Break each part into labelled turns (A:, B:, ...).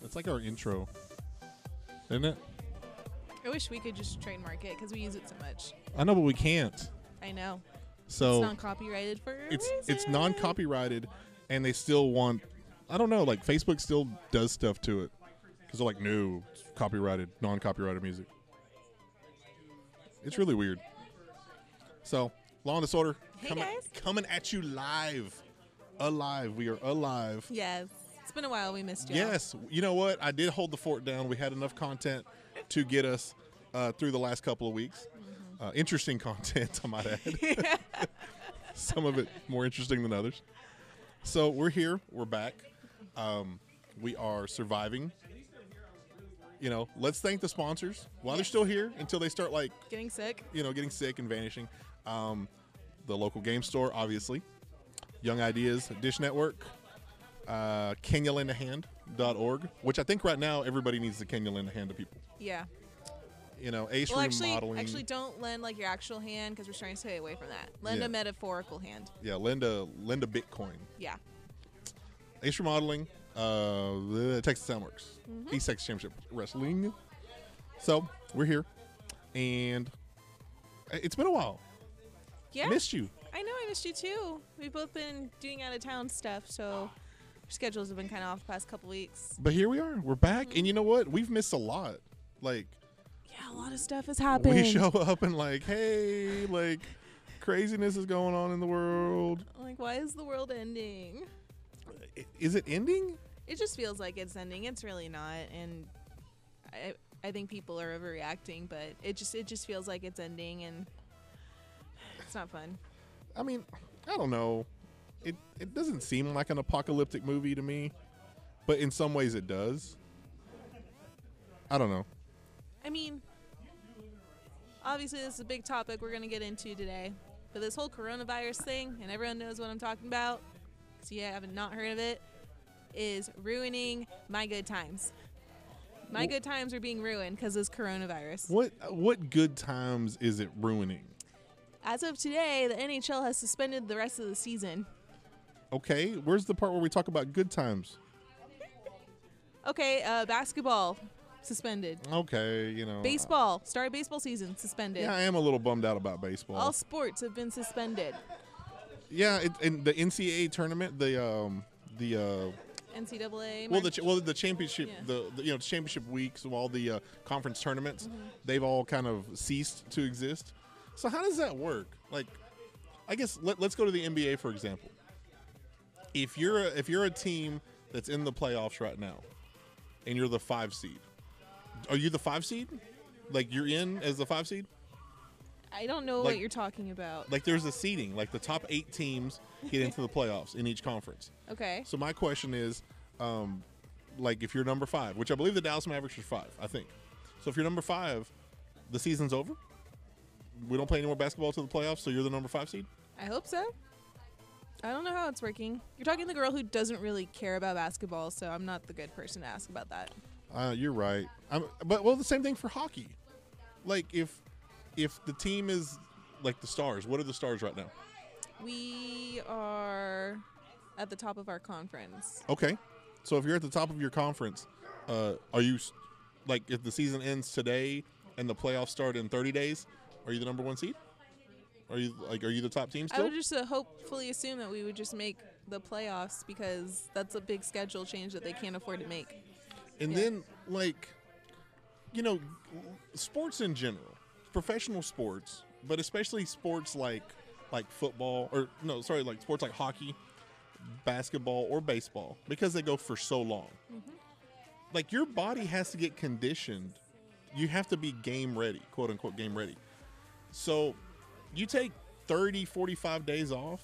A: That's like our intro, isn't it?
B: I wish we could just trademark it because we use it so much.
A: I know, but we can't.
B: I know. it's
A: So
B: non copyrighted for a
A: Oh. it's it's,
B: reason.
A: non-copyrighted, and they still want. I don't know. Like Facebook still does stuff to it because they're like, no, it's copyrighted, non-copyrighted music. It's really weird. So, Law and Disorder
B: Hey,
A: coming
B: guys.
A: coming at you live, alive. We are alive.
B: Yes. It's been a while. We missed you.
A: Yes, you know what? I did hold the fort down. We had enough content to get us uh, through the last couple of weeks. Uh, interesting content, I might add. Some of it more interesting than others. So we're here. We're back. Um, we are surviving. You know, let's thank the sponsors while they're still here until they start like
B: Getting sick.
A: you know, getting sick and vanishing. Um, the local game store, obviously. Young Ideas, Dish Network, uh, KenyaLendAHand.org, which I think right now everybody needs to Kenya lend a hand to people.
B: Yeah.
A: You know, Ace
B: Well,
A: Room
B: actually,
A: Modeling.
B: actually, don't lend like your actual hand because we're trying to stay away from that. Lend
A: Yeah.
B: a metaphorical hand.
A: yeah, lend a, lend a Bitcoin.
B: Yeah.
A: Ace Room Modeling, uh, the Texas Soundworks,
B: Mm-hmm.
A: East Texas Championship Wrestling. So, we're here. And it's been a while.
B: Yeah.
A: Missed you.
B: I know. I missed you too. We've both been doing out of town stuff, so our schedules have been kind of off the past couple weeks.
A: But here we are. We're back. And you know what? We've missed a lot. Like,
B: Yeah, a lot of stuff has happened.
A: We show up and like, hey, like craziness is going on in the world.
B: Like, why is the world ending?
A: I- Is it ending?
B: It just feels like it's ending. It's really not, and I I think people are overreacting, but it just it just feels like it's ending, and it's not fun.
A: I mean, I don't know. It it doesn't seem like an apocalyptic movie to me, but in some ways it does. I don't know.
B: I mean, obviously, this is a big topic we're going to get into today. But this whole coronavirus thing, and everyone knows what I'm talking about, because you haven't not heard of it, is ruining my good times. My
A: Wh-
B: good times are being ruined because this coronavirus.
A: What what good times is it ruining?
B: As of today, the NHL has suspended the rest of the season.
A: Okay, where's the part where we talk about good times?
B: Okay, uh, basketball suspended.
A: Okay, you know.
B: Baseball, start of baseball season suspended.
A: Yeah, I am a little bummed out about baseball.
B: All sports have been suspended.
A: yeah, it, and the NCAA tournament, the um, the uh,
B: NCAA.
A: Well, the
B: March-
A: ch- well the championship
B: Yeah.
A: the, the you know championship weeks of all the uh, conference tournaments they've all kind of ceased to exist. So how does that work? Like, I guess let, let's go to the NBA for example. If you're a, if you're a team that's in the playoffs right now, and you're the five seed, are you the five seed? Like you're in as the five seed?
B: I don't know
A: like-
B: what you're talking about.
A: Like there's a seeding. Like the top eight teams get into the playoffs in each conference.
B: Okay.
A: So my question is, um, like if you're number five, which I believe the Dallas Mavericks are five, I think. So if you're number five, the season's over. We don't play any more basketball to the playoffs, so you're the number five seed.
B: I hope so. I don't know how it's working. You're talking to the girl who doesn't really care about basketball, so I'm not the good person to ask about that.
A: Uh, you're right. I'm, but well, the same thing for hockey. Like if if the team is like the stars, what are the stars right now?
B: We are at the top of our conference.
A: Okay, so if you're at the top of your conference, uh, are you s- like if the season ends today and the playoffs start in 30 days, are you the number one seed? Are you like are you the top team
B: I
A: still?
B: would just uh, hopefully assume that we would just make the playoffs because that's a big schedule change that they can't afford to make.
A: And
B: Yeah.
A: then, like, you know, sports in general, professional sports, but especially sports like like football or no, sorry, like sports like hockey, basketball, or baseball, because they go for so long. Like your body has to get conditioned. You have to be game ready, quote unquote game ready. So you take 30, 45 days off.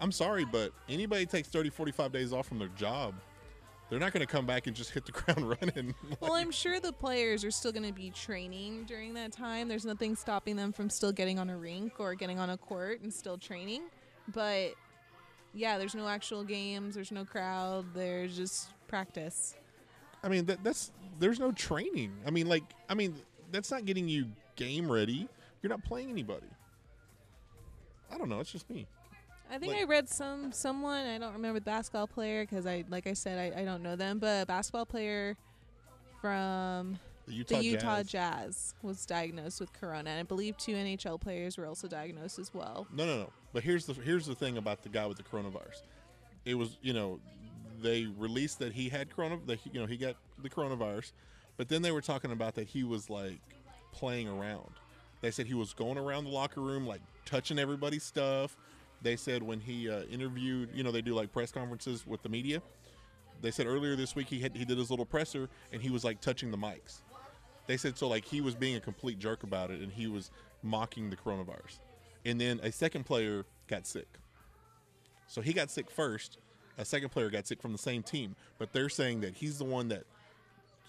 A: I'm sorry, but anybody takes 30, 45 days off from their job, they're not going to come back and just hit the ground running.
B: Well, I'm sure the players are still going to be training during that time. There's nothing stopping them from still getting on a rink or getting on a court and still training. But yeah, there's no actual games, there's no crowd, there's just practice.
A: I mean, that, that's there's no training. I mean, like, I mean, that's not getting you game ready. You're not playing anybody. I don't know. It's just me.
B: I think
A: Like-
B: I read some someone I don't remember the basketball player because I like I said I, I don't know them, but a basketball player from
A: The Utah,
B: the Utah
A: Jazz.
B: Jazz. was diagnosed with corona, and I believe two NHL players were also diagnosed as well.
A: No, no, no. But here's the here's the thing about the guy with the coronavirus. It was you know they released that he had corona that he, you know he got the coronavirus, but then they were talking about that he was like playing around. They said he was going around the locker room like touching everybody's stuff. They said when he uh, interviewed, you know, they do like press conferences with the media. They said earlier this week he had he did his little presser and he was like touching the mics. They said so like he was being a complete jerk about it and he was mocking the coronavirus. And then a second player got sick. So he got sick first. A second player got sick from the same team, but they're saying that he's the one that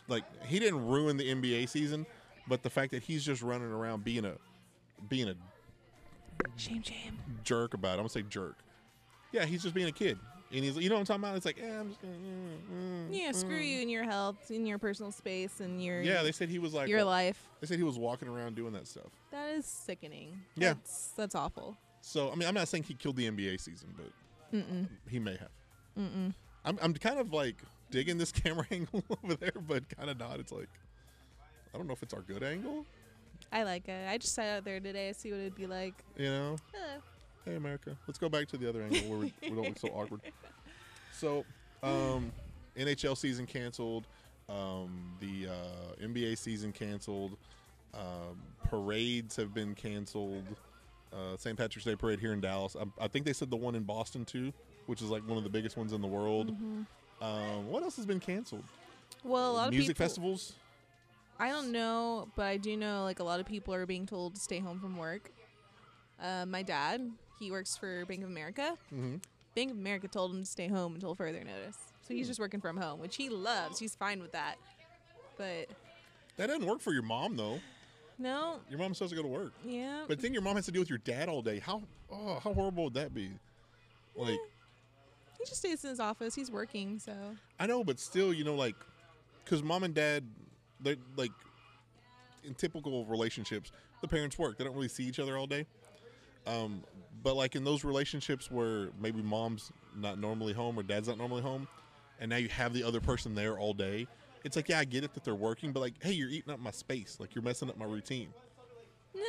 A: like he didn't ruin the NBA season, but the fact that he's just running around being a being a
B: Shame, shame.
A: jerk about it. I'm gonna say jerk. Yeah, he's just being a kid, and he's you know what I'm talking about. It's like, eh, I'm just gonna, mm, mm,
B: Yeah, screw
A: mm.
B: you in your health, in your personal space, and your
A: Yeah, they said he was like
B: your life.
A: They said he was walking around doing that stuff.
B: That is sickening.
A: Yeah.
B: that's, that's awful.
A: So I mean, I'm not saying he killed the NBA season, but
B: Mm-mm.
A: he may have.
B: Mm-mm.
A: I'm I'm kind of like digging this camera angle over there, but kind of not. It's like I don't know if it's our good angle,
B: I like it. I just sat out there today to see what it'd be like.
A: you know.
B: Hello.
A: Hey America, let's go back to the other angle where we, we don't look so awkward. So, um, NHL season canceled, um, the uh, NBA season canceled, um, parades have been canceled. Uh, St. Patrick's Day parade here in Dallas. I, I think they said the one in Boston too, which is like one of the biggest ones in the world. Um, what else has been canceled?
B: Well, Mm-hmm. a lot of
A: Music
B: people.
A: festivals.
B: I don't know, but I do know like a lot of people are being told to stay home from work. Uh, my dad, he works for Bank of America.
A: hmm
B: Bank of America told him to stay home until further notice, so
A: Hmm.
B: he's just working from home, which he loves. He's fine with that. But
A: That doesn't work for your mom though.
B: no,
A: Your mom still has to go to work.
B: yeah,
A: But then your mom has to deal with your dad all day. How oh, how horrible would that be? Like
B: he just stays in his office. He's working, so
A: I know, but still, you know, like because mom and dad, they're like in typical relationships, the parents work. They don't really see each other all day. Um, but like in those relationships where maybe mom's not normally home or dad's not normally home, and now you have the other person there all day, it's like yeah, I get it that they're working, but like hey, you're eating up my space. Like you're messing up my routine.
B: nah.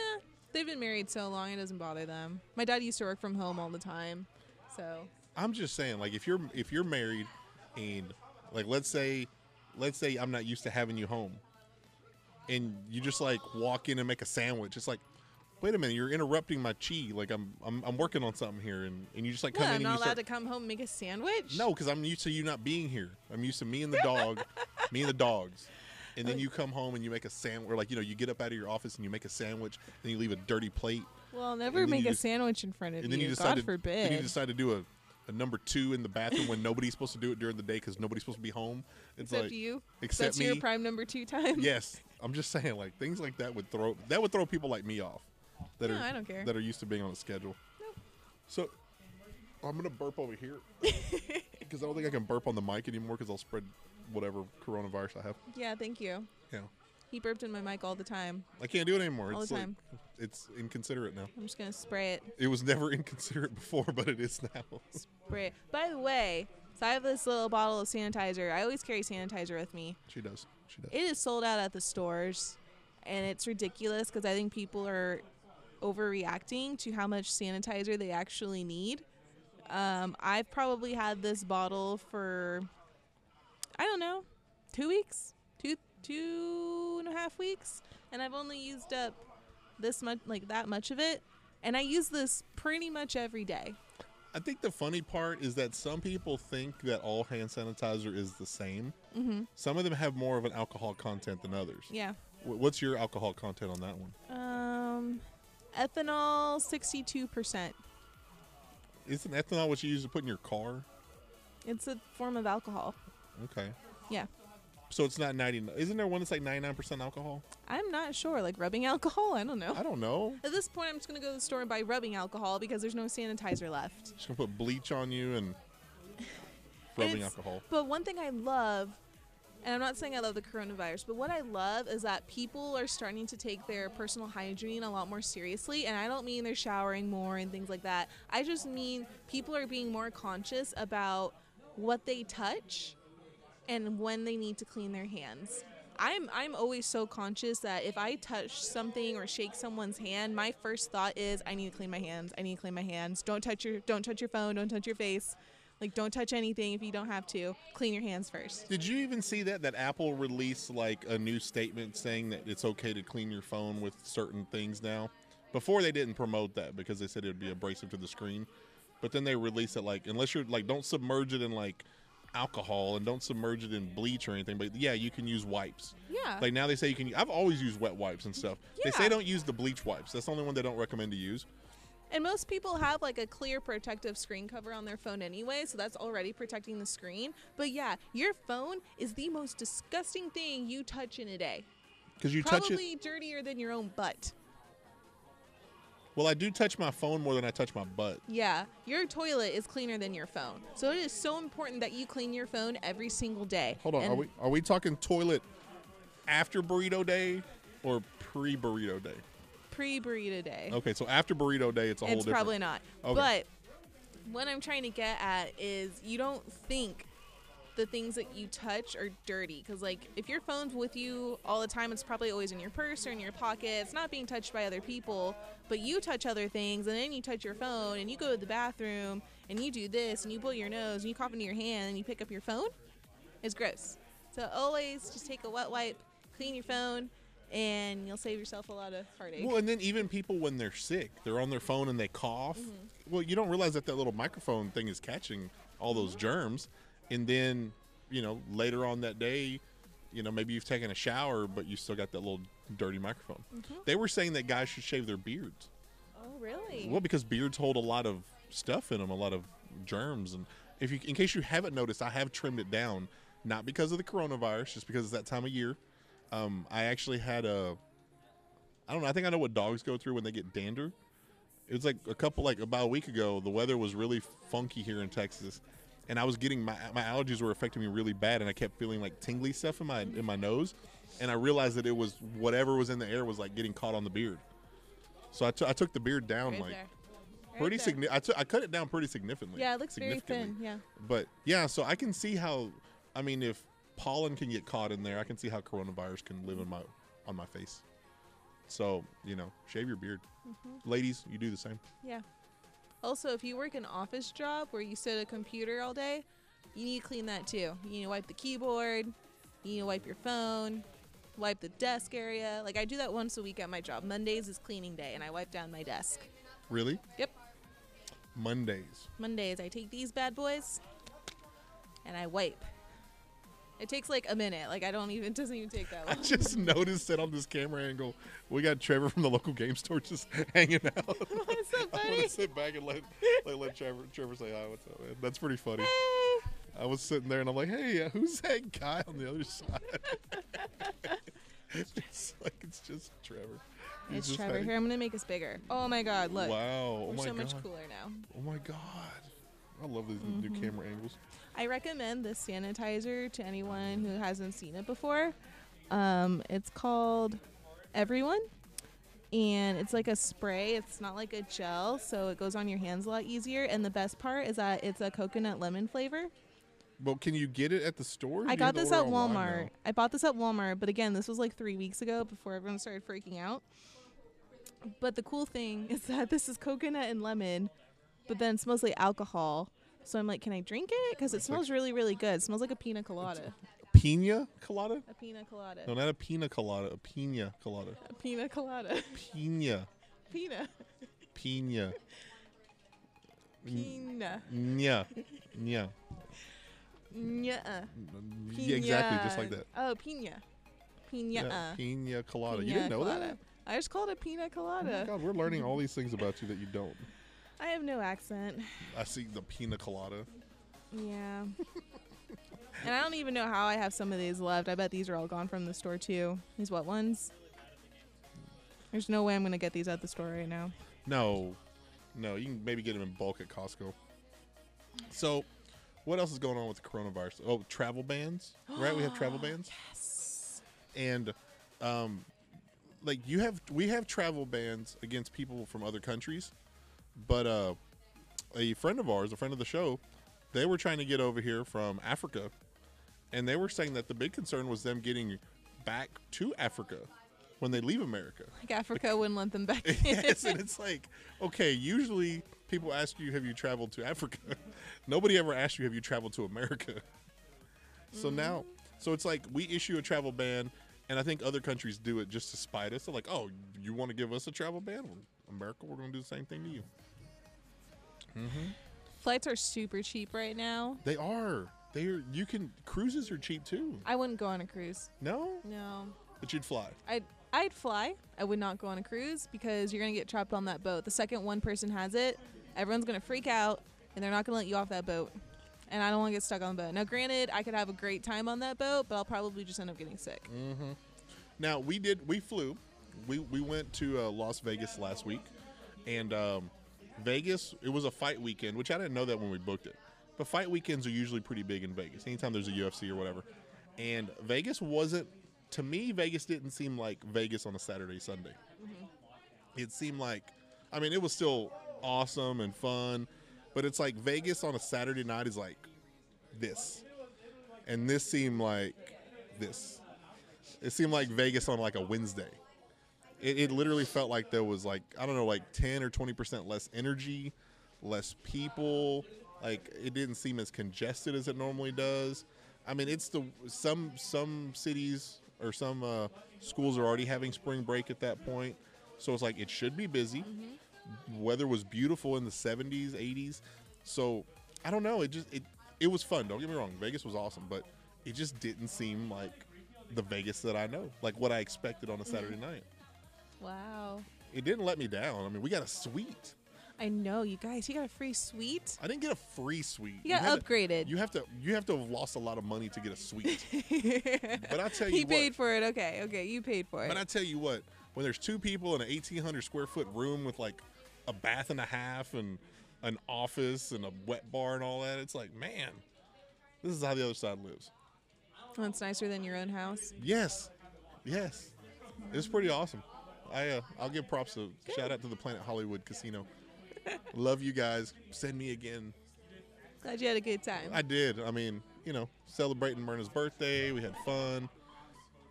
B: They've been married so long, it doesn't bother them. My dad used to work from home all the time, so
A: I'm just saying, like if you're if you're married and like let's say let's say I'm not used to having you home and you just like walk in and make a sandwich, it's like wait a minute, you're interrupting my chi. Like I'm I'm, I'm working on something here and, and you just like come
B: what?
A: in
B: I'm
A: and
B: not
A: you
B: allowed
A: start
B: to come home and make a sandwich.
A: No, because I'm used to you not being here. I'm used to me and the dog me and the dogs. And
B: Uh,
A: then you come home and you make a sandwich or like, you know, you get up out of your office and you make a sandwich and you leave a dirty plate
B: Well, I'll never
A: then
B: make
A: you
B: a
A: just-
B: sandwich in front of
A: and then you decide
B: God
A: to,
B: forbid.
A: Then you decide to do a, a number two in the bathroom when nobody's supposed to do it during the day because nobody's supposed to be home. It's
B: except
A: like
B: you.
A: except
B: That's
A: me.
B: your prime number two time.
A: yes, I'm just saying like things like that would throw that would throw people like me off that
B: No,
A: are
B: I don't care.
A: that are used to being on a schedule.
B: Nope.
A: So I'm gonna burp over here because I don't think I can burp on the mic anymore because I'll spread whatever coronavirus I have.
B: Yeah, thank you.
A: Yeah,
B: He burped in my mic all the time.
A: I can't do it anymore.
B: All the
A: it's like
B: time.
A: it's inconsiderate now.
B: I'm just gonna spray it.
A: It was never inconsiderate before, but it is now.
B: Spray it. By the way, so I have this little bottle of sanitizer. I always carry sanitizer with me.
A: she does. She does.
B: It is sold out at the stores, and it's ridiculous because I think people are overreacting to how much sanitizer they actually need. Um, I've probably had this bottle for, I don't know, two weeks, two two and a half weeks, and I've only used up this much, like that much of it, and I use this pretty much every day.
A: I think the funny part is that some people think that all hand sanitizer is the same. Mm-hmm. Some of them have more of an alcohol content than others.
B: Yeah.
A: Wh- What's your alcohol content on that one?
B: Um, ethanol, sixty-two percent.
A: Isn't ethanol what you use to put in your car?
B: It's a form of alcohol.
A: Okay.
B: Yeah.
A: So it's not 99. Isn't there one that's like 99% alcohol?
B: I'm not sure. Like rubbing alcohol? I don't know.
A: I don't know.
B: At this point, I'm just going to go to the store and buy rubbing alcohol because there's no sanitizer left.
A: Just going to put bleach on you and rubbing
B: It's-
A: alcohol.
B: But one thing I love And I'm not saying I love the coronavirus, but what I love is that people are starting to take their personal hygiene a lot more seriously. And I don't mean they're showering more and things like that. I just mean people are being more conscious about what they touch and when they need to clean their hands. I'm I'm always so conscious that if I touch something or shake someone's hand, my first thought is I need to clean my hands. I need to clean my hands. Don't touch your don't touch your phone, don't touch your face. Like don't touch anything if you don't have to. Clean your hands first.
A: Did you even see that that Apple released like a new statement saying that it's okay to clean your phone with certain things now? Before they didn't promote that because they said it would be abrasive to the screen, but then they released it like unless you're like don't submerge it in like alcohol and don't submerge it in bleach or anything. But yeah, you can use wipes.
B: Yeah.
A: Like now they say you can. I've always used wet wipes and stuff. They say
B: Yeah.
A: don't use the bleach wipes. That's the only one they don't recommend to use.
B: And most people have like a clear protective screen cover on their phone anyway, so that's already protecting the screen. But yeah, your phone is the most disgusting thing you touch in a day.
A: Because you touch it.
B: Probably dirtier than your own butt.
A: Well, I do touch my phone more than I touch my butt.
B: Yeah, your toilet is cleaner than your phone. So it is so important that you clean your phone every single day.
A: Hold on.
B: And
A: Are we are we talking toilet after burrito day or pre burrito day?
B: pre burrito day?
A: Okay, so after burrito day, it's a whole
B: It's
A: different.
B: probably not.
A: Okay.
B: But what I'm trying to get at is you don't think the things that you touch are dirty because like if your phone's with you all the time it's probably always in your purse or in your pocket it's not being touched by other people but you touch other things and then you touch your phone and you go to the bathroom and you do this and you blow your nose and you cough into your hand and you pick up your phone it's gross so always just take a wet wipe clean your phone and you'll save yourself a lot of heartache
A: Well, and then even people when they're sick, they're on their phone and they cough.
B: Mm-hmm.
A: Well, you don't realize that that little microphone thing is catching all
B: Mm-hmm.
A: those germs, and then you know later on that day, you know maybe you've taken a shower, but you still got that little dirty microphone.
B: Mm-hmm.
A: They were saying that guys should shave their beards.
B: oh really
A: Well, because beards hold a lot of stuff in them, a lot of germs, and if you, in case you haven't noticed, I have trimmed it down, not because of the coronavirus, just because it's that time of year. Um, I actually had a, I don't know, I think I know what dogs go through when they get dander. It was like a couple, like about a week ago. The weather was really funky here in Texas, and I was getting my my allergies were affecting me really bad, and I kept feeling like tingly stuff in my in my nose, and I realized that it was whatever was in the air was like getting caught on the beard. So I took- I took the beard down
B: Right
A: like
B: there. Right
A: pretty
B: there.
A: significant. I took- I cut it down pretty significantly.
B: Yeah, it looks very
A: significantly.
B: thin. Yeah.
A: But yeah, so I can see how. I mean, if pollen can get caught in there, I can see how coronavirus can live in my on my face. So you know, shave your beard,
B: Mm-hmm.
A: ladies. You do the same.
B: Yeah. Also, if you work an office job where you sit at a computer all day, you need to clean that too. You need to wipe the keyboard, you need to wipe your phone, wipe the desk area. Like I do that once a week at my job. Mondays is cleaning day and I wipe down my desk.
A: Really,
B: Yep.
A: Mondays.
B: Mondays I take these bad boys and I wipe. It takes like a minute. Like I don't even it doesn't even take that
A: I
B: long.
A: just noticed that on this camera angle, we got Trevor from the local game store just hanging out.
B: It's so
A: I
B: funny.
A: want to sit back and let let, let Trevor, Trevor say hi. What's up, man? That's pretty funny. I was sitting there and I'm like, hey, uh, who's that guy on the other side? it's just like it's just Trevor. He's
B: It's
A: just
B: Trevor
A: hanging-
B: here. I'm gonna make us bigger. Oh my god, look.
A: Wow! Oh
B: We're
A: my
B: so
A: god!
B: much cooler now.
A: Oh my god! I love these new
B: Mm-hmm.
A: camera angles.
B: I recommend this sanitizer to anyone who hasn't seen it before. Um, it's called Everyone, and it's like a spray. It's not like a gel, so it goes on your hands a lot easier. And the best part is that it's a coconut lemon flavor.
A: But can you get it at the store? Do
B: I
A: you have
B: got
A: to
B: this at
A: order online
B: Walmart. I bought this at Walmart, but again, this was like three weeks ago before everyone started freaking out. But the cool thing is that this is coconut and lemon, but then it's mostly alcohol. So I'm like, can I drink it? Because it
A: like-
B: smells really, really good. It smells like a pina colada.
A: now? Pina colada?
B: A pina colada.
A: No, not a pina colada. A pina colada.
B: A pina colada.
A: Pina.
B: pina.
A: Pina. Mm.
B: Pina.
A: Yeah. Yeah.
B: Nuh-uh.
A: Yeah, exactly, just like
B: Pina.
A: that.
B: Oh, pina. Pina.
A: Yeah, Pina colada. you
B: Pina
A: didn't know
B: colada.
A: that?
B: I just called it pina
A: Oh my
B: colada.
A: God, we're learning all these things about you that you don't.
B: I have no accent.
A: I see the pina colada.
B: Yeah. and I don't even know how I have some of these left. I bet these are all gone from the store too. These what ones? There's no way I'm gonna get these at the store right now.
A: No, no, you can maybe get them in bulk at Costco. So, What else is going on with the coronavirus? Oh, travel bans, right? We have travel bans,
B: Yes.
A: and um, like you have, we have travel bans against people from other countries. But uh, a friend of ours, a friend of the show, they were trying to get over here from Africa, and they were saying that the big concern was them getting back to Africa when they leave America.
B: Like Africa wouldn't let them back in.
A: yes, and it's like, okay, usually people ask you, have you traveled to Africa? Nobody ever asks you, have you traveled to America? So now, so it's like we issue a travel ban, and I think other countries do it just to spite us. They're like, oh, you want to give us a travel ban? Well, America, we're going to do the same thing to you.
B: Flights are super cheap right now.
A: They are. They are. You can. Cruises are cheap too.
B: I wouldn't go on a cruise.
A: No,
B: No.
A: but you'd fly.
B: I'd I'd fly. I would not go on a cruise because you're gonna get trapped on that boat. The second one person has it, everyone's gonna freak out and they're not gonna let you off that boat. And I don't wanna get stuck on the boat. Now granted I could have a great time on that boat, but I'll probably just end up getting sick.
A: Now we did. We flew. We we went to uh, Las Vegas last week, and um, Vegas. It was a fight weekend, which I didn't know that when we booked it. But fight weekends are usually pretty big in Vegas. Anytime there's a UFC or whatever, and Vegas wasn't. To me, Vegas didn't seem like Vegas on a Saturday Sunday. It seemed like, I mean, it was still awesome and fun, but it's like Vegas on a Saturday night is like this, and this seemed like this. It seemed like Vegas on like a Wednesday. It, it literally felt like there was like I don't know, like ten or twenty percent less energy, less people. Like it didn't seem as congested as it normally does. I mean, it's the some some cities or some uh, schools are already having spring break at that point, so it's like it should be busy. Weather was beautiful in the seventies, eighties, so I don't know. It just it it was fun. Don't get me wrong, Vegas was awesome, but it just didn't seem like the Vegas that I know, like what I expected on a Saturday night.
B: Wow.
A: It didn't let me down. I mean, we got a suite.
B: I know, you guys, you got a free suite.
A: I didn't get a free suite.
B: You got
A: had to-
B: upgraded.
A: you have to you have to have lost a lot of money to get a suite. but I tell you
B: he
A: what,
B: paid for it. Okay, okay, you paid for it.
A: but I tell you what, when there's two people in an 1800 square foot room with like a bath and a half and an office and a wet bar and all that, it's like, man, this is how the other side lives.
B: That's nicer than your own house.
A: Yes, yes, it's pretty awesome. I uh, I'll give props to shout out to the Planet Hollywood Casino. Love you guys. Send me again.
B: Glad you had a good time.
A: I did. I mean, you know, celebrating Myrna's birthday. We had fun.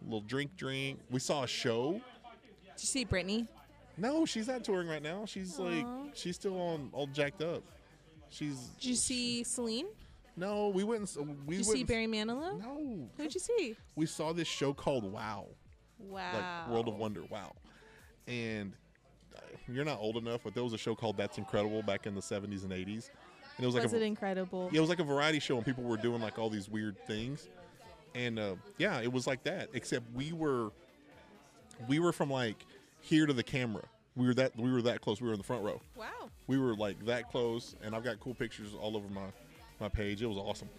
A: little drink, drink. We saw a show.
B: Did you see Brittany?
A: No, she's not touring right now. She's like
B: Aw.
A: she's still on all jacked up. She's
B: Did you see Celine?
A: no. We went. And, s- we
B: Did you
A: went
B: see
A: and s-
B: Barry Manilow?
A: No,
B: Who'd you see?
A: we saw this show called Wow. like
B: Wow.
A: World of Wonder. Wow. And uh, you're not old enough, but there was a show called That's Incredible back in the 70s and 80s. And it was like
B: Was
A: a,
B: it incredible?
A: yeah, it was like a variety show, and people were doing like all these weird things. And uh, yeah, it was like that. Except we were, we were from like here to the camera. We were that we were that close. We were in the front row.
B: Wow.
A: We were like that close, and I've got cool pictures all over my my page. It was awesome.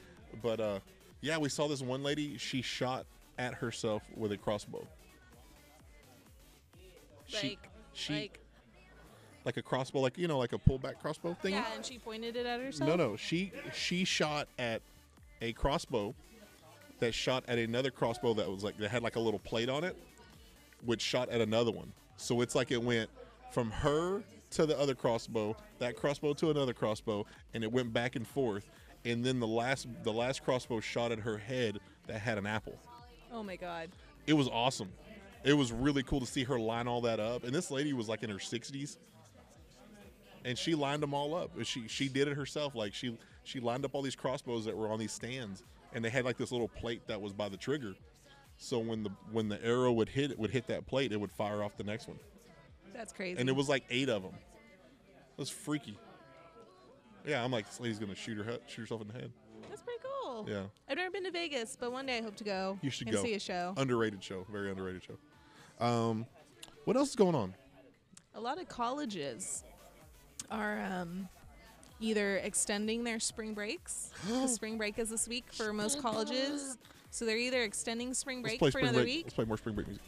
A: But uh, yeah, we saw this one lady. She shot at herself with a crossbow. She-
B: like,
A: she
B: like,
A: like a crossbow, like you know, like a pullback crossbow thing.
B: yeah, and she pointed it at herself.
A: No, no, she she shot at a crossbow that shot at another crossbow that was like that had like a little plate on it, which shot at another one. So it's like it went from her to the other crossbow, that crossbow to another crossbow, and it went back and forth. And then the last the last crossbow shot at her head that had an apple
B: Oh my god.
A: it was awesome. It was really cool to see her line all that up. And this lady was like in her 60s, and she lined them all up. She she did it herself. Like she she lined up all these crossbows that were on these stands, and they had like this little plate that was by the trigger. So when the when the arrow would hit it would hit that plate, it would fire off the next one.
B: That's crazy.
A: And it was like eight of them. It was freaky. Yeah, I'm like this lady's gonna shoot her head, shoot herself in the head.
B: That's pretty cool.
A: Yeah.
B: I've never been to Vegas, but one day I hope to go.
A: You should
B: and
A: go
B: see a show.
A: Underrated show, very underrated show. Um, what else is going on?
B: a lot of colleges are um, either extending their spring breaks. 'cause spring break is this week for most colleges. So they're either extending spring break for another
A: break.
B: week
A: Let's play more spring break music.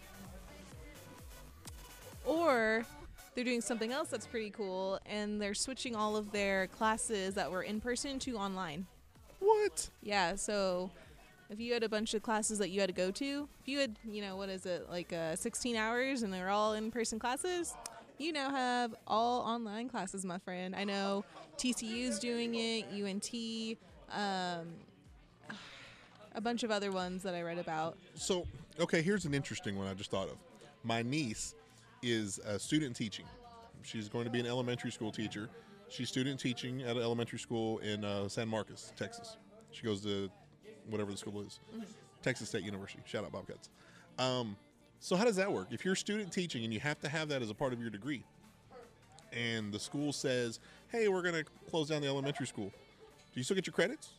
B: or they're doing something else that's pretty cool and they're switching all of their classes that were in person to online.
A: What?
B: Yeah, so if you had a bunch of classes that you had to go to, if you had, you know, what is it, like uh, 16 hours and they're all in person classes, you now have all online classes, my friend. I know TCU's doing it, UNT, um, a bunch of other ones that I read about.
A: So, okay, here's an interesting one I just thought of. My niece is a student teaching. She's going to be an elementary school teacher. She's student teaching at an elementary school in uh, San Marcos, Texas. She goes to whatever the school is, Texas State University. Shout out Bobcats. Um, so, how does that work? If you're student teaching and you have to have that as a part of your degree, and the school says, "Hey, we're going to close down the elementary school," do you still get your credits?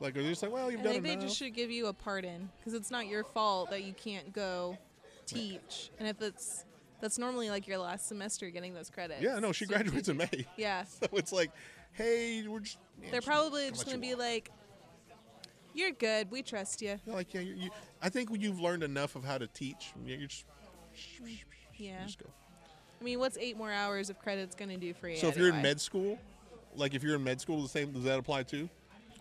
A: Like, are they just like, "Well, you've
B: I
A: done
B: think they
A: enough."
B: just should give you a pardon because it's not your fault that you can't go teach. And if it's that's normally like your last semester getting those credits.
A: yeah, no, she
B: So you should
A: graduates in May.
B: Yeah.
A: So it's like, hey, we're just. yeah,
B: They're
A: just
B: probably
A: let
B: just
A: you
B: going to be
A: walk.
B: like, you're good. We trust you.
A: They're like, yeah, you, you, I think you've learned enough of how to teach. Yeah, You're just, you
B: Yeah.
A: just go.
B: I mean, what's eight more hours of credits going to do for you?
A: So if you're in
B: anyway?
A: med school, like if you're in med school, the same does that apply too?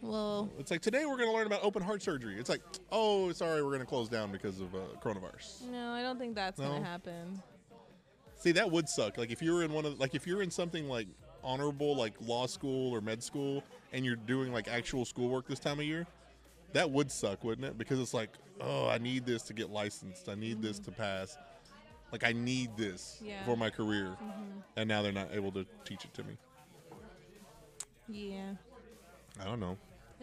B: Well,
A: It's like today we're going to learn about open heart surgery. It's like, oh, sorry, we're going to close down because of uh, coronavirus.
B: no, I don't think that's going
A: No?
B: to happen.
A: See, that would suck. Like if you're in one of, like if you're in something like honorable, like law school or med school, and you're doing like actual schoolwork this time of year, that would suck, wouldn't it? Because it's like, oh, I need this to get licensed. I need this to pass. Like I need this
B: Yeah.
A: for my career, and now they're not able to teach it to me.
B: Yeah.
A: I don't know.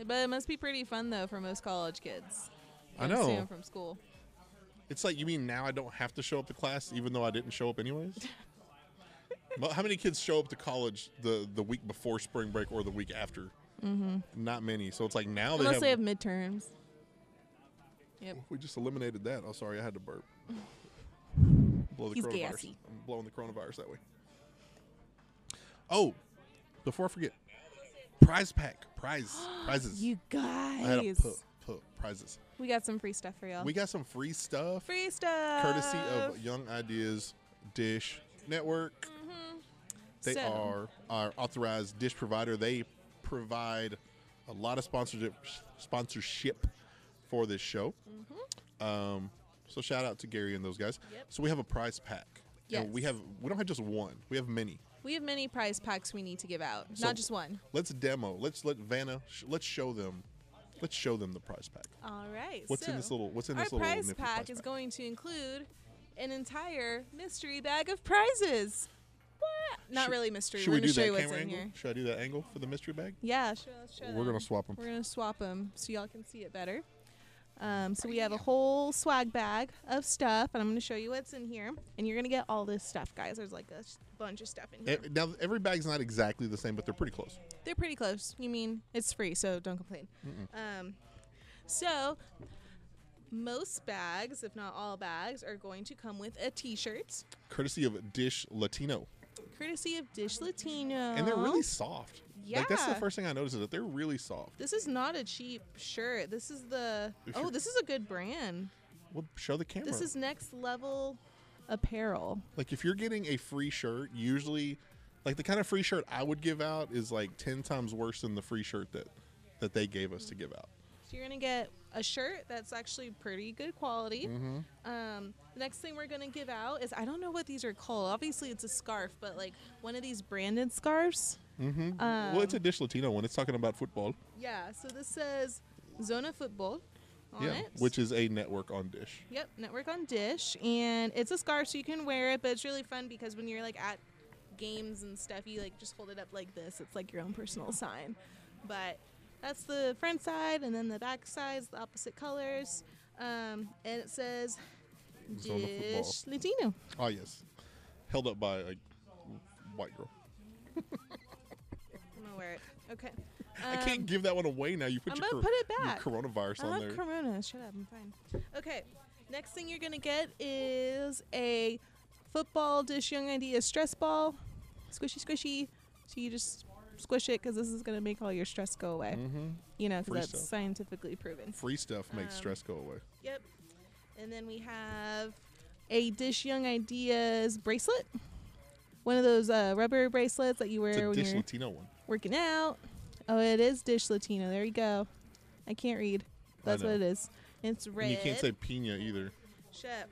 B: But it must be pretty fun, though, for most college kids.
A: I
B: would assume,
A: know.
B: From school.
A: It's like you mean now I don't have to show up to class even though I didn't show up anyways. well, how many kids show up to college the the week before spring break or the week after? Mm-hmm. Not many. So it's like now
B: Unless
A: they have.
B: midterms. Yep.
A: we just eliminated that. Oh, sorry, I had to burp. Blow the
B: He's
A: coronavirus.
B: gassy.
A: I'm blowing the coronavirus that way. Oh, before I forget, prize pack, prize, prizes.
B: You
A: I had a
B: guys.
A: put, put prizes.
B: We got some free stuff for y'all.
A: We got some free stuff.
B: free stuff.
A: courtesy
B: Uh,
A: of Young Ideas Dish Network.
B: Mm-hmm.
A: They
B: So-
A: are our authorized dish provider. They provide a lot of sponsorship sponsorship for this show. Um, so shout out to Gary and those guys.
B: Mm-hmm. Yep.
A: So we have a prize pack. And
B: Yes.
A: we have we don't have just one. We have many.
B: We have many prize packs we need to give out,
A: So-
B: not just one.
A: Let's demo. Let's let Vanna. Sh- let's show them. Let's show them the prize pack.
B: All right.
A: What's in this
B: so
A: little? What's in
B: Our
A: this little?
B: prize
A: nifty
B: pack is going to include an entire mystery bag of prizes. What? Not
A: Should-
B: really mystery.
A: Should
B: We're
A: we
B: gonna
A: do
B: show
A: that
B: you what's
A: camera
B: in
A: angle?
B: here.
A: Should I do that angle for the mystery bag?
B: Yeah, sure, let's show
A: We're
B: them.
A: gonna swap them.
B: We're gonna swap them so y'all can see it better. Um, so we have a whole swag bag of stuff, and I'm gonna show you what's in here. And you're gonna get all this stuff, guys. There's like a s- bunch of stuff in here.
A: E- Now, every bag's not exactly the same, but they're pretty close.
B: They're pretty close. You mean it's free, so don't complain. Um, so most bags, if not all bags, are going to come with a T-shirt,
A: Courtesy of Dish Latino,
B: courtesy of Dish Latino.
A: and they're really soft. Like that's the
B: Oh. Yeah.
A: first thing I noticed is that they're really soft.
B: This is not a cheap shirt. This is the
A: If
B: oh,
A: you're-
B: this is a good brand.
A: Well, show the camera.
B: This is next level apparel.
A: like if you're getting a free shirt, usually, like the kind of free shirt I would give out is like ten times worse than the free shirt that that they gave us to give out.
B: So you're gonna get a shirt that's actually pretty good quality.
A: Mm-hmm.
B: Um, the next thing we're gonna give out is I don't know what these are called. Obviously, it's a scarf, but like one of these branded scarves.
A: Mm-hmm.
B: Um,
A: well, it's a Dish Latino one. It's talking about football,
B: Yeah. So this says Zona Football on
A: yeah,
B: it.
A: which is a network on Dish.
B: Yep, network on Dish, and it's a scarf, so you can wear it. But it's really fun because when you're like at games and stuff, you like just hold it up like this. It's like your own personal sign. But that's the front side, and then the back side's the opposite colors, um, and it says
A: Zona Football.
B: Dish Latino.
A: Oh yes, held up by a white girl.
B: I'm gonna wear it. Okay.
A: I
B: Um,
A: can't give that one away now. You put
B: I'm
A: your, cor-
B: gonna put it
A: your
B: back. Uh-huh,
A: coronavirus
B: I
A: on
B: love
A: there.
B: Corona. Shut up. I'm fine. Okay. Next thing you're gonna get is a football dish young idea stress ball, squishy squishy. So you just squish it because this is gonna make all your stress go away.
A: mm-hmm.
B: You know, 'cause
A: Free
B: that's
A: stuff.
B: scientifically proven.
A: Free stuff makes
B: Um,
A: stress go away.
B: Yep. And then we have a dish young ideas bracelet. One of those uh, rubber bracelets that you
A: It's
B: wear
A: a
B: when
A: Dish
B: you're
A: Latino one.
B: working out. Oh, it is dish Latino. There you go. I can't read.
A: I
B: That's what
A: know.
B: it is. It's red.
A: And you can't say pina either.
B: Shut up.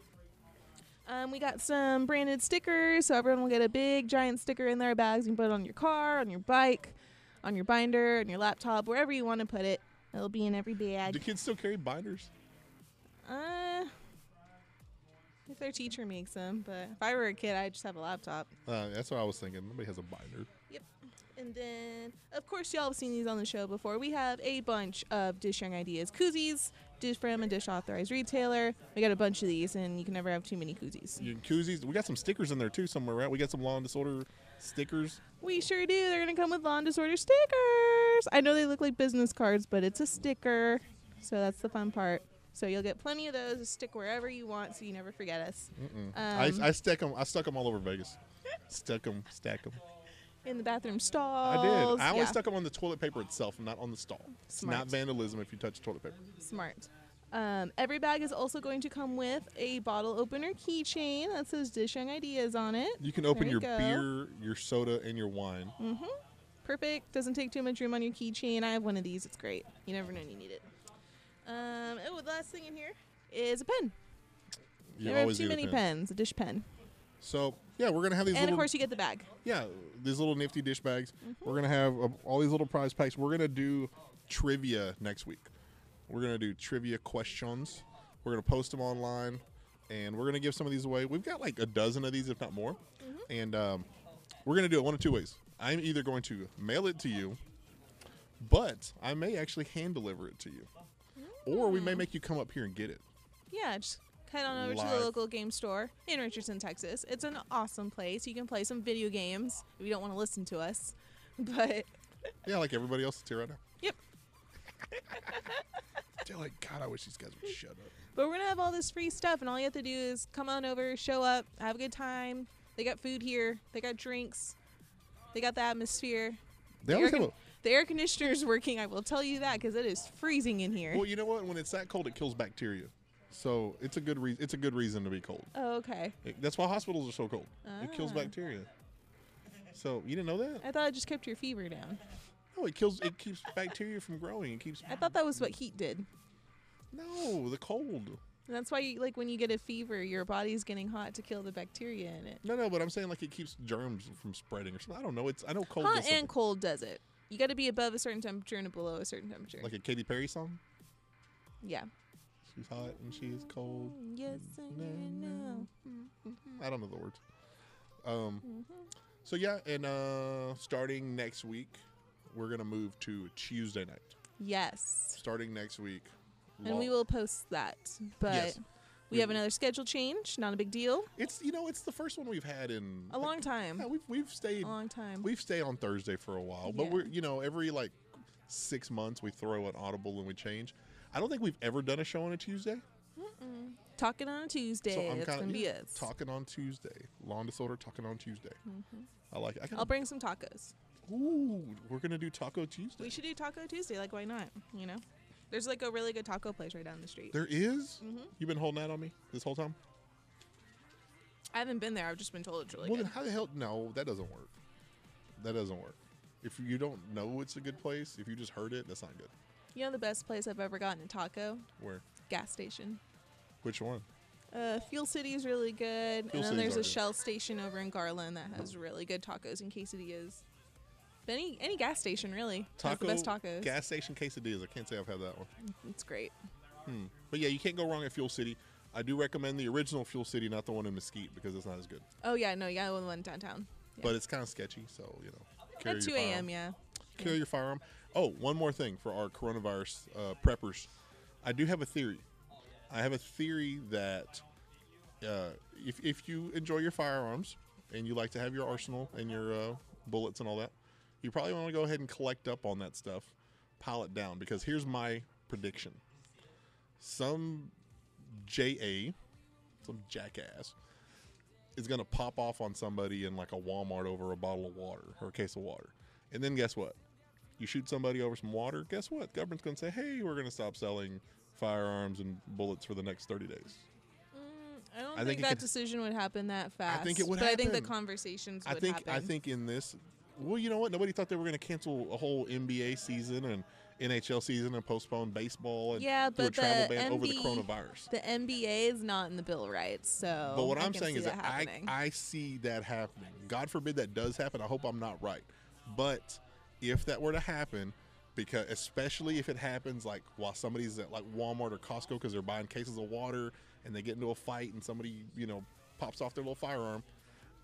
B: Um, we got some branded stickers, so everyone will get a big giant sticker in their bags. You can put it on your car, on your bike, on your binder, on your laptop, wherever you want to put it. It'll be in every
A: Do
B: bag.
A: kids still carry binders?
B: Uh, if their teacher makes them, but if I were a kid, I'd just have a laptop.
A: Uh, that's what I was thinking. Nobody has a binder.
B: And then, of course, y'all have seen these on the show before. We have a bunch of dish sharing ideas koozies, dish from a dish authorized retailer. We got a bunch of these, and you can never have too many koozies.
A: Your koozies. We got some stickers in there too somewhere, right? We got some law and disorder stickers.
B: We sure do. They're going to come with lawn disorder stickers. I know they look like business cards, but it's a sticker. So that's the fun part. So you'll get plenty of those to stick wherever you want so you never forget us.
A: Mm-mm.
B: Um,
A: I, I stuck them. I stuck 'em all over Vegas. Stuck them. Stack them.
B: In the bathroom stalls.
A: I did. I only
B: yeah,
A: stuck them on the toilet paper itself, not on the stall. It's not
B: Smart.
A: vandalism if you touch toilet paper.
B: Smart. Um, every bag is also going to come with a bottle opener keychain that says Dish Young Ideas on it.
A: You can open
B: you
A: your
B: go. Mm.
A: beer, your soda, and your wine.
B: Perfect. Doesn't take too much room on your keychain. I have one of these. It's great. You never know when you need it. Um, oh, the last thing in here is a pen.
A: You
B: there are
A: always
B: too
A: need a
B: many
A: pen.
B: pens. A dish pen.
A: So yeah, we're gonna have these.
B: and
A: little,
B: of course, you Mm-hmm. get the bag.
A: yeah, these little nifty dish bags. We're gonna have uh, all these little prize packs. We're gonna do trivia next week. We're gonna do trivia questions. We're gonna post them online, and we're gonna give some of these away. We've got like a dozen of these, if not more,
B: Mm-hmm.
A: and um, we're gonna do it one of two ways. I'm either going to mail it to you, but I may actually hand deliver it to you, or we
B: Mm.
A: may make you come up here and get it.
B: Yeah, just head on over to
A: Live.
B: the local game store in Richardson, Texas. It's an awesome place. You can play some video games if you don't want to listen to us. But
A: Yeah, like everybody else is here right now.
B: Yep.
A: They're like, God, I wish these guys would shut up.
B: but we're gonna have all this free stuff, and all you have to do is come on over, show up, have a good time. They got food here. They got drinks. They got the atmosphere.
A: They
B: The air,
A: always have
B: con- the air conditioner's working. I will tell you that because it is freezing in here.
A: a. Well, you know what? When it's that cold, it kills bacteria. So it's a good reason. It's a good reason to be cold.
B: oh, okay.
A: It- that's why hospitals are so cold. It kills
B: Ah.
A: bacteria. So you didn't know that?
B: I thought it just kept your fever down.
A: No, it kills. It keeps bacteria from growing. It keeps.
B: I thought that was what heat did.
A: No, the cold.
B: And that's why, you, like, when you get a fever, your body's getting hot to kill the bacteria in it.
A: No, no, but I'm saying like it keeps germs from spreading or something. I don't know. It's I know cold.
B: hot
A: does something.
B: and cold does it. You got to be above a certain temperature and below a certain temperature.
A: Like a Katy Perry song.
B: yeah.
A: She's hot and she's cold.
B: Yes,
A: na, na. I don't know the words. Um,
B: Mm-hmm.
A: so yeah, and uh, starting next week, we're gonna move to Tuesday night.
B: Yes.
A: Starting next week,
B: And we
A: law-
B: will post that. But
A: Yes.
B: we have another schedule change. Not a big deal.
A: It's you know it's the first one we've had in
B: A long time.
A: Yeah, we've we've stayed
B: A long time.
A: we've stayed on Thursday for a while, but
B: Yeah.
A: we're you know every like six months we throw an audible and we change. I don't think we've ever done a show on a Tuesday,
B: Talking on a Tuesday.
A: so I'm
B: That's
A: kind
B: going
A: of
B: to be us.
A: talking on Tuesday. Lawn disorder talking on Tuesday.
B: Mm-hmm.
A: I like it. I
B: I'll
A: can,
B: bring some tacos.
A: ooh, we're gonna do Taco Tuesday.
B: We should do Taco Tuesday. Like, why not? You know? There's like a really good taco place right down the street.
A: There is?
B: Mm-hmm.
A: You've been holding out on me this whole time?
B: I haven't been there. I've just been told it's really
A: well,
B: good.
A: then how the hell? No, that doesn't work. That doesn't work. If you don't know it's a good place, if you just heard it, that's not good.
B: You know the best place I've ever gotten a taco?
A: Where?
B: Gas station.
A: Which one?
B: Uh, Fuel City is really
A: Fuel
B: good. and then
A: City's
B: there's a
A: alright.
B: Shell station over in Garland that has really good tacos and quesadillas. But any any gas station really has the best tacos.
A: Gas station quesadillas. I can't say I've had that one.
B: It's great.
A: Hmm. But yeah, you can't go wrong at Fuel City. I do recommend the original Fuel City, not the one in Mesquite, because it's not as good.
B: Oh yeah, no, you got one one downtown. Yeah.
A: But it's kind of sketchy, so you know. Carry
B: At
A: your
B: two a.m.
A: firearm.
B: Yeah.
A: Carry your firearm. Oh, one more thing for our coronavirus uh, preppers. I do have a theory. I have a theory that uh, if, if you enjoy your firearms and you like to have your arsenal and your uh, bullets and all that, you probably want to go ahead and collect up on that stuff, pile it down. Because here's my prediction some JA, some jackass, is going to pop off on somebody in like a Walmart over a bottle of water or a case of water. And then guess what? You shoot somebody over some water, guess what? Government's going to say, hey, we're going to stop selling firearms and bullets for the next 30 days.
B: I don't
A: think
B: think,
A: it
B: that
A: could-
B: decision would happen that fast.
A: think it would
B: but I think the
A: happen.
B: conversations
A: I
B: would
A: think
B: happen.
A: I think in this well, you know what? Nobody thought they were going to cancel a whole NBA season and NHL season and postpone baseball and
B: Yeah,
A: do a
B: but
A: travel
B: the
A: ban over the
B: MB
A: coronavirus.
B: The NBA is not in the bill of rights, so.
A: But what
B: Oh, I
A: I'm
B: can
A: saying
B: see
A: is that,
B: happening.
A: I, I see that happening. God forbid that does happen. I hope I'm not right. But if that were to happen, because especially if it happens like while somebody's at like Walmart or Costco because they're buying cases of water and they get into a fight and somebody, you know, pops off their little firearm,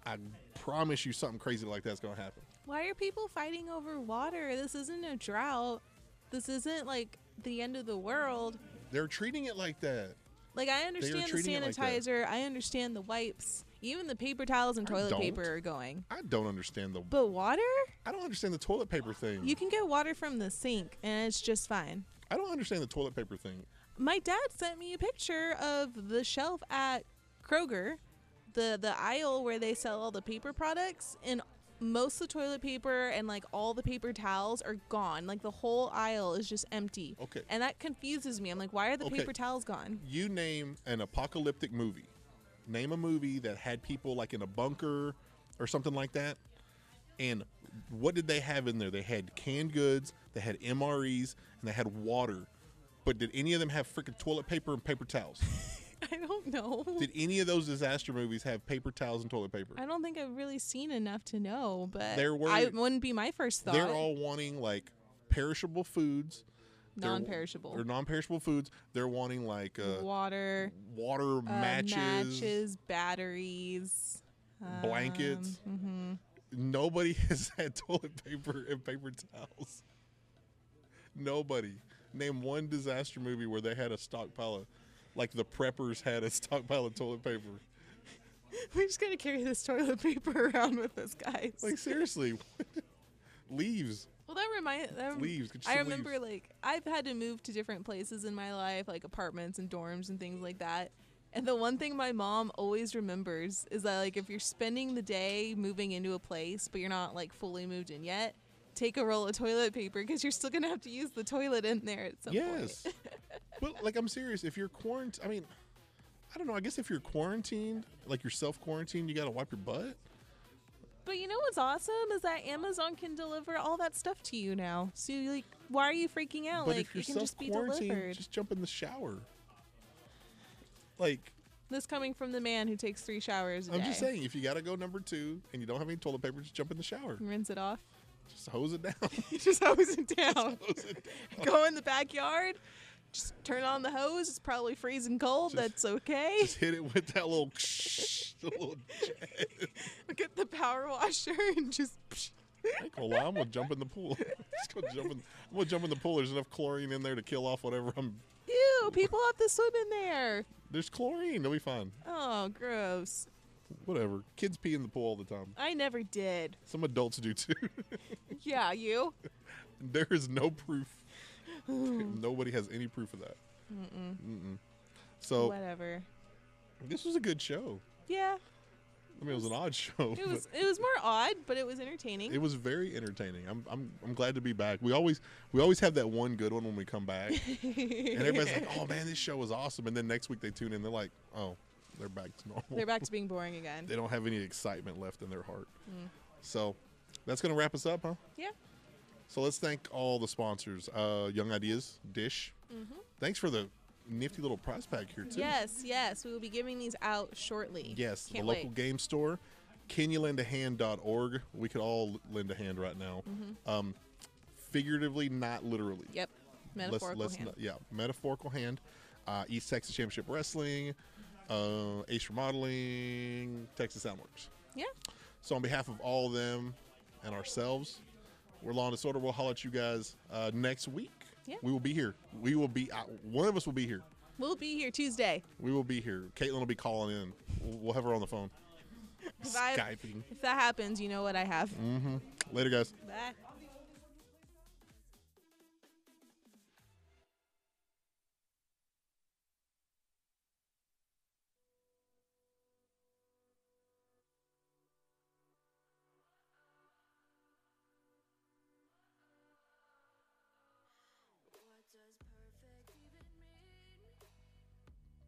A: I promise you something crazy like that's going to happen.
B: Why are people fighting over water? This isn't a drought. This isn't like the end of the world.
A: They're treating it like that.
B: Like I understand the
A: treating it like that.
B: sanitizer, I understand the wipes, even the paper towels and
A: I
B: toilet
A: don't.
B: paper are going.
A: I don't understand the
B: But water?
A: I don't understand the toilet paper thing.
B: You can get water from the sink and it's just fine.
A: I don't understand the toilet paper thing.
B: My dad sent me a picture of the shelf at Kroger, the the aisle where they sell all the paper products and most of the toilet paper and like all the paper towels are gone. Like the whole aisle is just empty.
A: Okay.
B: And that confuses me. I'm like, why are the
A: Okay.
B: paper towels gone?
A: you name an apocalyptic movie. Name a movie that had people like in a bunker or something like that. And what did they have in there? They had canned goods, they had MREs, and they had water. But did any of them have freaking toilet paper and paper towels?
B: I don't know.
A: did any of those disaster movies have paper towels and toilet paper?
B: I don't think I've really seen enough to know, but
A: There were-
B: I wouldn't be my first thought.
A: They're all wanting like perishable foods. They're-
B: non-perishable.
A: Or non-perishable foods. They're wanting like uh,
B: Water,
A: water,
B: uh, matches, batteries,
A: blankets.
B: hmm
A: Nobody has had toilet paper and paper towels. Nobody. Name one disaster movie where they had a stockpile of, like the preppers had a stockpile of toilet paper.
B: We're just gonna carry this toilet paper around with us, guys.
A: Like seriously, what? leaves.
B: well, that reminds. That,
A: Leaves, get you
B: I
A: some
B: remember, like, I've had to move to different places in my life, like apartments and dorms and things like that. And the one thing my mom always remembers is that, like, if you're spending the day moving into a place but you're not like fully moved in yet, take a roll of toilet paper because you're still gonna have to use the toilet in there at some point.
A: Yes. but like I'm serious. If you're quarantined, I mean, I don't know. I guess if you're quarantined, like you're self quarantined, you gotta wipe your butt.
B: But you know what's awesome is that Amazon can deliver all that stuff to you now. So like, why are you freaking out?
A: but
B: like,
A: if you're
B: it can
A: self
B: just be delivered.
A: quarantined, just jump in the shower. Like
B: This coming from the man who takes three showers a
A: I'm
B: day.
A: just saying, if you gotta go number two and you don't have any toilet paper, just jump in the shower.
B: Rinse it off.
A: Just hose it down.
B: You just hose it down.
A: hose it down.
B: Go in the backyard. Just turn on the hose. It's probably freezing cold.
A: Just-
B: That's okay.
A: Just hit it with that little, the little jazz.
B: Get the power washer and just.
A: I ain't gonna lie, I'm gonna jump in the pool. just gonna jump in. I'm gonna jump in the pool. There's enough chlorine in there to kill off whatever I'm.
B: Ew! People have to swim in there.
A: There's chlorine. They'll be fine.
B: Oh, gross.
A: Whatever. Kids pee in the pool all the time.
B: I never did.
A: Some adults do too.
B: Yeah, you.
A: there is no proof. Nobody has any proof of that. Mm-mm. Mm-mm. So
B: Whatever.
A: this was a good show.
B: Yeah,
A: I mean, it was an odd show.
B: it
A: but-
B: was. It was more odd, but it was entertaining.
A: It was very entertaining. I'm, I'm, I'm glad to be back. We always we always have that one good one when we come back, and everybody's like, "Oh man, this show was awesome!" And then next week they tune in, they're like, "Oh, they're back to normal.
B: They're back to being boring again.
A: They don't have any excitement left in their heart."
B: Mm.
A: So that's gonna wrap us up, huh?
B: Yeah.
A: So let's thank all the sponsors: uh, Young Ideas, Dish.
B: Mm-hmm.
A: Thanks for the nifty little prize pack here too.
B: Yes, yes. We will be giving these out shortly.
A: Yes,
B: Can't
A: the local
B: wait.
A: game store. CanYouLendAHand.org. We could all l- lend a hand right now. Um, figuratively, not literally.
B: Mm-hmm. Yep.
A: Let's-
B: Metaphorical
A: let's
B: hand.
A: not- yeah, metaphorical hand. Uh, East Texas Championship Wrestling, uh, Ace Remodeling, Texas Soundworks.
B: Yeah.
A: So on behalf of all of them and ourselves, we're Law and Disorder. We'll holler at you guys uh, next week.
B: Yeah.
A: We will be here. We will be. Uh, one of us will be here.
B: We'll be here Tuesday.
A: We will be here. Caitlin will be calling in. We'll we'll have her on the phone.
B: If I-
A: Skyping. Mm.
B: If that happens, you know what I have.
A: Later, guys.
B: Bye.